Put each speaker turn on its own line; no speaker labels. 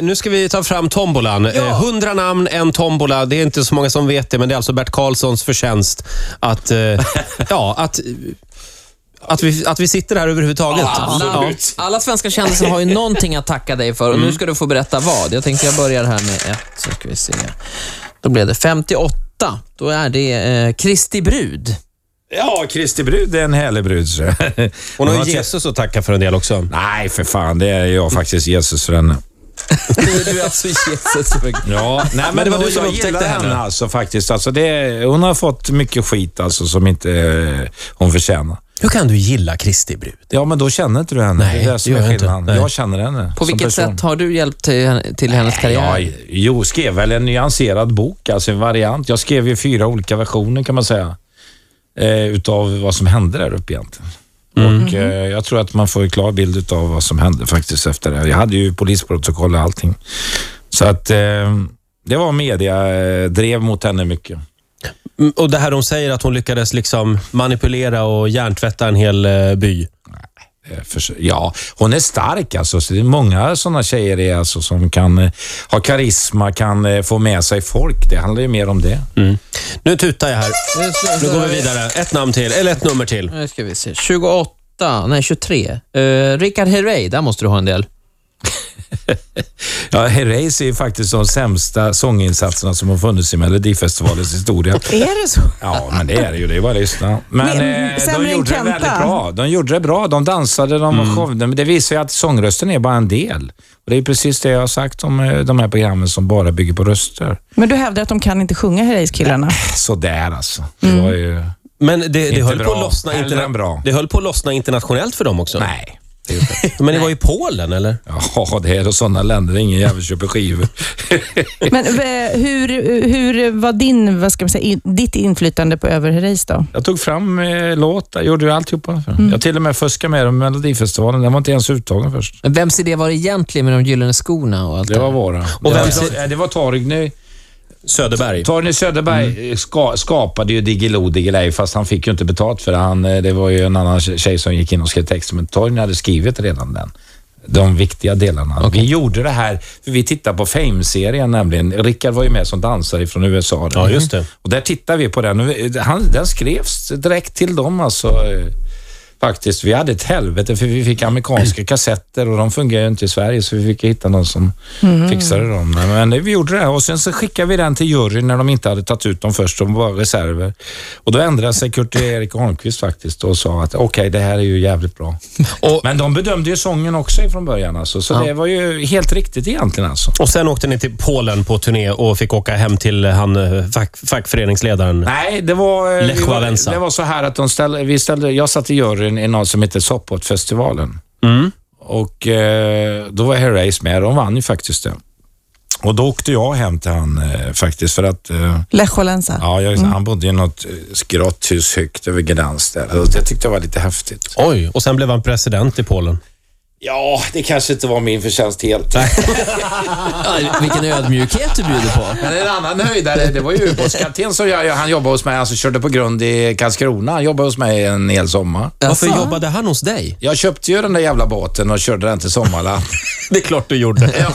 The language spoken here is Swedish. nu ska vi ta fram tombolan. Eh, 100 namn, en tombola. Det är inte så många som vet det, men det är alltså Bert Karlssons förtjänst att, eh, ja, att, eh, att, vi, att vi sitter här överhuvudtaget.
Alla, alla svenska kändisar har ju någonting att tacka dig för och
Mm.
nu ska du få berätta vad. Jag tänkte jag börjar här med ett, så ska vi se. Då blev det 58. Då är det eh, Kristi brud.
Ja, Kristi brud är en härlig brud. så.
Hon har
Jag
ju
tycker-
Jesus att tacka för en del också.
Nej, för fan. Det är jag faktiskt Jesus för henne.
Du är alltså Jesus.
Ja, nej, men,
det var
hon-
du som
jag
upptäckte
gillar
henne.
Alltså, faktiskt. Alltså, det, hon har fått mycket skit alltså, som inte eh, hon förtjänar.
Hur kan du gilla Kristi brud?
Ja, men då känner inte du henne.
Nej,
det är det som
det gör
är
jag inte.
skillnaden.
Nej.
Jag känner henne
På
som
vilket
person.
sätt har du hjälpt till, henne- till hennes karriär?
Ja, jo, skrev väl en nyanserad bok, alltså en variant. Jag skrev ju fyra olika versioner kan man säga, eh, utav vad som hände där uppe egentligen. Och eh, jag tror att man får en klar bild utav vad som hände faktiskt efter det. Jag hade ju polisprotokoll och allting. Så att eh, det var media, eh, drev mot henne mycket.
Mm, Och det här de säger att hon lyckades liksom manipulera och hjärntvätta en hel eh, by.
Eh, förs- Ja, hon är stark alltså. Så det är många sådana tjejer är alltså som kan eh, ha karisma, kan eh, få med sig folk. Det handlar ju mer om det.
Nu tutar jag här. Nu går vi
vidare.
vidare. Ett namn till, eller ett nummer till.
Nu ska vi se. 28, nej 23. Uh, Richard Herrey, där måste du ha en del.
Ja, Herreys är ju faktiskt de sämsta sånginsatserna som har funnits i Melodifestivalens historia.
Är det så?
Ja, men det är det ju. Det är bara att lyssna. Men
Men,
eh,
sämre
de
än
gjorde det
Kenta.
väldigt bra. De gjorde det bra. De dansade, de var showade. Men det visar ju att sångrösten är bara en del. Och det är ju precis det jag har sagt om eh, de här programmen som bara bygger på röster.
Men du hävdar att de kan inte sjunga Herreys-killarna?
Sådär alltså. Det
Mm.
var ju...
Men det, det,
Inte
höll på att
bra.
lossna
Hellre
interna-
än bra.
det höll på att lossna internationellt för dem också.
Nej. det gjorde det inte.
Men det var i Polen, eller?
Ja, det är sådana länder. Ingen jävel köper skivor.
Men eh, hur, hur var din, vad ska man säga, i- ditt inflytande på över Herreys då?
Jag tog fram eh, låtar, gjorde ju alltihopa. Mm. Jag till och med fuskade med dem i Melodifestivalen. Den var inte ens uttagen först.
Men vems idé var det egentligen med de gyllene skorna och allt
Det var
där?
våra.
Och
Och
vem-
vem, det, var Torgny.
Söderberg.
Torgny Söderberg eh, ska, skapade ju Diggiloo Diggiley, fast han fick ju inte betalt för det. Han, eh, det var ju en annan tjej som gick in och skrev texten, men Torgny hade skrivit redan den. De viktiga delarna. Vi gjorde det här, för vi tittar på Fame-serien nämligen. Rickard var ju med som dansare från USA.
Ja, just det.
Mm. Och där tittar vi på den. Och vi- Han, den skrevs direkt till dem alltså. eh, Faktiskt. Vi hade ett helvete för vi fick amerikanska kassetter och de fungerar ju inte i Sverige så vi fick hitta någon som fixade dem. Men men vi gjorde det och sen så skickade vi den till juryn när de inte hade tagit ut dem först. De var reserver. Och då ändrade sig Kurt Erik Holmqvist faktiskt och sa att okej, det här är ju jävligt bra.
Och-
Men de bedömde ju sången också från början alltså, så det var ju helt riktigt egentligen alltså.
Och sen åkte ni till Polen på turné och fick åka hem till han, eh, fack, fackföreningsledaren.
Nej, det var, eh,
Lech
vi
Wałęsa.
var, det var så här att de ställde, vi ställde, jag satt i juryn i något som heter Sopotfestivalen.
Mm.
Och eh, då var Herreys med. De vann ju faktiskt det. Och då åkte jag hem till han eh, faktiskt för att eh,
Lech Walesa?
ja, jag,
Mm.
han bodde i något eh, grått hus högt över Gdansk där. Och Det tyckte jag var lite häftigt.
Oj, och sen blev han president i Polen.
Ja, det kanske inte var min förtjänst helt.
Ja, vilken ödmjukhet du bjuder på.
Men en annan höjdare, det var ju ubåtskapten som jag, jag- han jobbade hos mig. Han som körde på grund i Karlskrona. Han jobbade hos mig en hel sommar.
Varför jobbade han hos dig?
Jag köpte ju den där jävla båten och körde den till Sommarland.
Det är klart du gjorde.